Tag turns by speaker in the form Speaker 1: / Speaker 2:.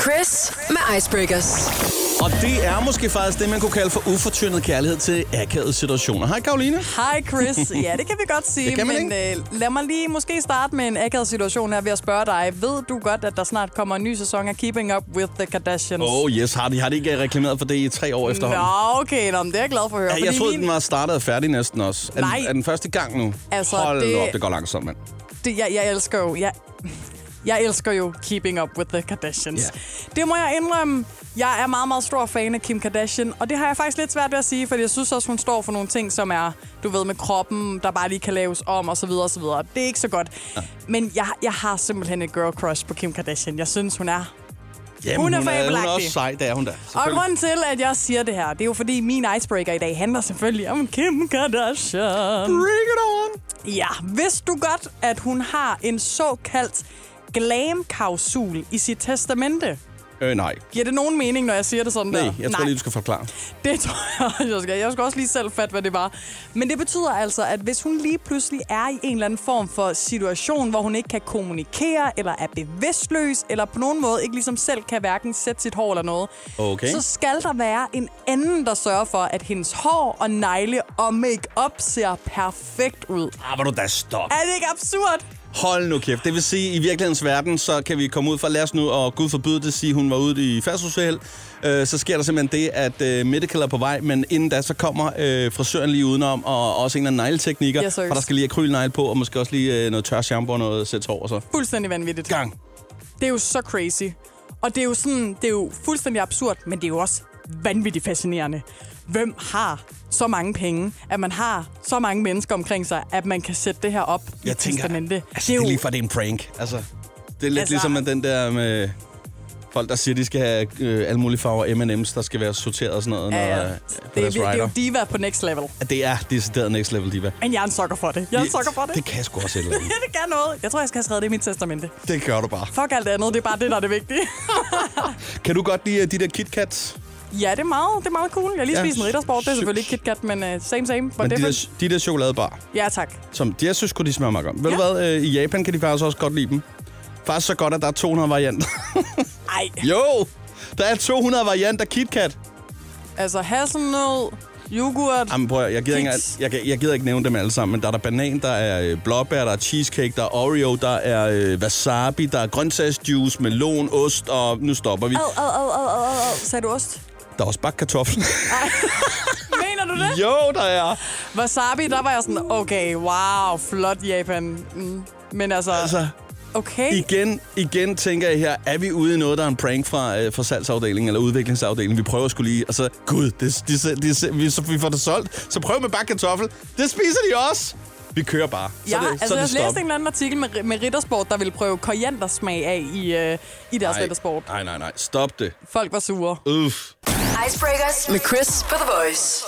Speaker 1: Chris med Icebreakers.
Speaker 2: Og det er måske faktisk det, man kunne kalde for ufortyndet kærlighed til akavede situationer. Hej Karoline.
Speaker 3: Hej Chris. Ja, det kan vi godt sige,
Speaker 2: Det kan man
Speaker 3: men øh, lad mig lige måske starte med en akavet situation her ved at spørge dig. Ved du godt, at der snart kommer en ny sæson af Keeping Up with the Kardashians?
Speaker 2: Oh yes, har de, har de ikke reklameret for det i tre år efterhånden?
Speaker 3: Nå, okay, nå, men det er jeg glad for at høre.
Speaker 2: Ja, jeg
Speaker 3: fordi
Speaker 2: troede,
Speaker 3: min-
Speaker 2: den var startet og færdig næsten også. Er,
Speaker 3: Nej.
Speaker 2: Den, er den første gang nu?
Speaker 3: Altså,
Speaker 2: Hold
Speaker 3: det-
Speaker 2: nu op, det går langsomt, mand.
Speaker 3: det, jeg, jeg elsker jo... Jeg, jeg elsker jo Keeping Up With The Kardashians.
Speaker 2: Ja.
Speaker 3: Det må jeg indrømme. Jeg er meget, meget stor fan af Kim Kardashian, og det har jeg faktisk lidt svært ved at sige, fordi jeg synes også, hun står for nogle ting, som er, du ved, med kroppen, der bare lige kan laves om, og så videre, og så videre. Det er ikke så godt. Men jeg, jeg har simpelthen et girl crush på Kim Kardashian. Jeg synes, hun er
Speaker 2: Jamen,
Speaker 3: Hun er
Speaker 2: hun, er, hun er
Speaker 3: fabelagtig.
Speaker 2: også sej, det er hun da.
Speaker 3: og
Speaker 2: Selvfølgelig.
Speaker 3: grunden til, at jeg siger det her, det er jo fordi, min icebreaker i dag handler selvfølgelig om Kim Kardashian.
Speaker 2: Bring it on!
Speaker 3: Ja, vidste du godt, at hun har en såkaldt glam-klausul i sit testamente?
Speaker 2: Øh, nej.
Speaker 3: Giver det nogen mening, når jeg siger det sådan
Speaker 2: Nej,
Speaker 3: der?
Speaker 2: jeg tror lige, du skal forklare.
Speaker 3: Det tror jeg også, jeg skal. Jeg skal også lige selv fatte, hvad det var. Men det betyder altså, at hvis hun lige pludselig er i en eller anden form for situation, hvor hun ikke kan kommunikere, eller er bevidstløs, eller på nogen måde ikke ligesom selv kan hverken sætte sit hår eller noget,
Speaker 2: Okay.
Speaker 3: så skal der være en anden, der sørger for, at hendes hår og negle og make-up ser perfekt ud.
Speaker 2: Ah, hvor er du da stop.
Speaker 3: Er det ikke absurd?
Speaker 2: Hold nu kæft. Det vil sige, at i virkelighedens verden, så kan vi komme ud fra, lad os nu, og Gud forbyde det, sige, hun var ude i færdselsuheld. Øh, så sker der simpelthen det, at øh, medical er på vej, men inden da, så kommer øh, frisøren lige udenom, og også en af negleteknikker,
Speaker 3: Ja, seriøst.
Speaker 2: for der skal lige akrylnegle på, og måske også lige øh, noget tør shampoo og noget sæt hår og så.
Speaker 3: Fuldstændig vanvittigt.
Speaker 2: Gang.
Speaker 3: Det er jo så crazy. Og det er jo sådan, det er jo fuldstændig absurd, men det er jo også vanvittigt fascinerende. Hvem har så mange penge, at man har så mange mennesker omkring sig, at man kan sætte det her op i
Speaker 2: Jeg
Speaker 3: et
Speaker 2: tænker,
Speaker 3: testamente?
Speaker 2: altså, det er lige for, det er en prank. Altså, det er lidt altså,
Speaker 3: Altså-
Speaker 2: ligesom med den der med folk, der siger, de skal have øh, alle mulige farver M&M's, der skal være sorteret og sådan noget, når,
Speaker 3: ja, ja.
Speaker 2: øh,
Speaker 3: Det,
Speaker 2: på
Speaker 3: det,
Speaker 2: deres
Speaker 3: det, er jo
Speaker 2: rider.
Speaker 3: diva på next level.
Speaker 2: Det er decideret next level, diva.
Speaker 3: Men jeg er en sokker for det. Jeg er en sokker for det.
Speaker 2: Det kan jeg sgu også et eller andet.
Speaker 3: ja, det kan noget. Jeg tror, jeg skal have skrevet det i mit testamente.
Speaker 2: Det gør du bare.
Speaker 3: Fuck alt andet, det er bare det, der er det vigtige.
Speaker 2: Kan du godt lide øh, de der KitKats?
Speaker 3: ja, det er meget, det er meget cool. Jeg har lige
Speaker 2: Ja,
Speaker 3: spist en riddersport. Det er
Speaker 2: sy-
Speaker 3: selvfølgelig ikke KitKat, men uh, same, same. But
Speaker 2: Men de
Speaker 3: different.
Speaker 2: der, de der chokoladebar,
Speaker 3: Ja, tak.
Speaker 2: som de, jeg synes kunne de smager meget godt. Ved du
Speaker 3: Ja.
Speaker 2: hvad, øh, i Japan kan de faktisk også godt lide dem. Faktisk så godt, at der er 200 varianter.
Speaker 3: Ej,
Speaker 2: jo! Der er 200 varianter KitKat.
Speaker 3: Altså hasselnød, yoghurt.
Speaker 2: Jamen prøv, at- jeg gider, ikke,
Speaker 3: Kiks.
Speaker 2: jeg, jeg, jeg gider ikke nævne dem alle sammen, men der er der banan, der er øh, blåbær, der er cheesecake, der er Oreo, der er øh, wasabi, der er grøntsagsjuice, melon, ost, og nu stopper vi.
Speaker 3: Ad, ad, ad, ad, ad, ad, ad. Sagde du ost?
Speaker 2: Der er også bagt kartoffel.
Speaker 3: Mener du det?
Speaker 2: jo, der er.
Speaker 3: Wasabi, der var jeg sådan, okay, wow, flot Japan. Mm. Men altså,
Speaker 2: Altså,
Speaker 3: okay.
Speaker 2: igen, igen tænker jeg her, er vi ude i noget, der er en prank fra, øh, fra salgsafdelingen eller udviklingsafdelingen? Vi prøver skulle lige, og så, gud, det, de, de, de, vi, så, vi får det solgt, så prøv med bagt kartoffel. Det spiser de også. Vi kører bare. Så
Speaker 3: Ja,
Speaker 2: det,
Speaker 3: altså
Speaker 2: så
Speaker 3: jeg
Speaker 2: det
Speaker 3: læste
Speaker 2: stop.
Speaker 3: en eller anden artikel med, med Rittersport, der ville prøve koriandersmag af i, øh, i deres Rittersport.
Speaker 2: nej, nej, nej. Stop det.
Speaker 3: Folk var sure.
Speaker 2: Uff.
Speaker 1: Icebreakers med Chris på The Voice.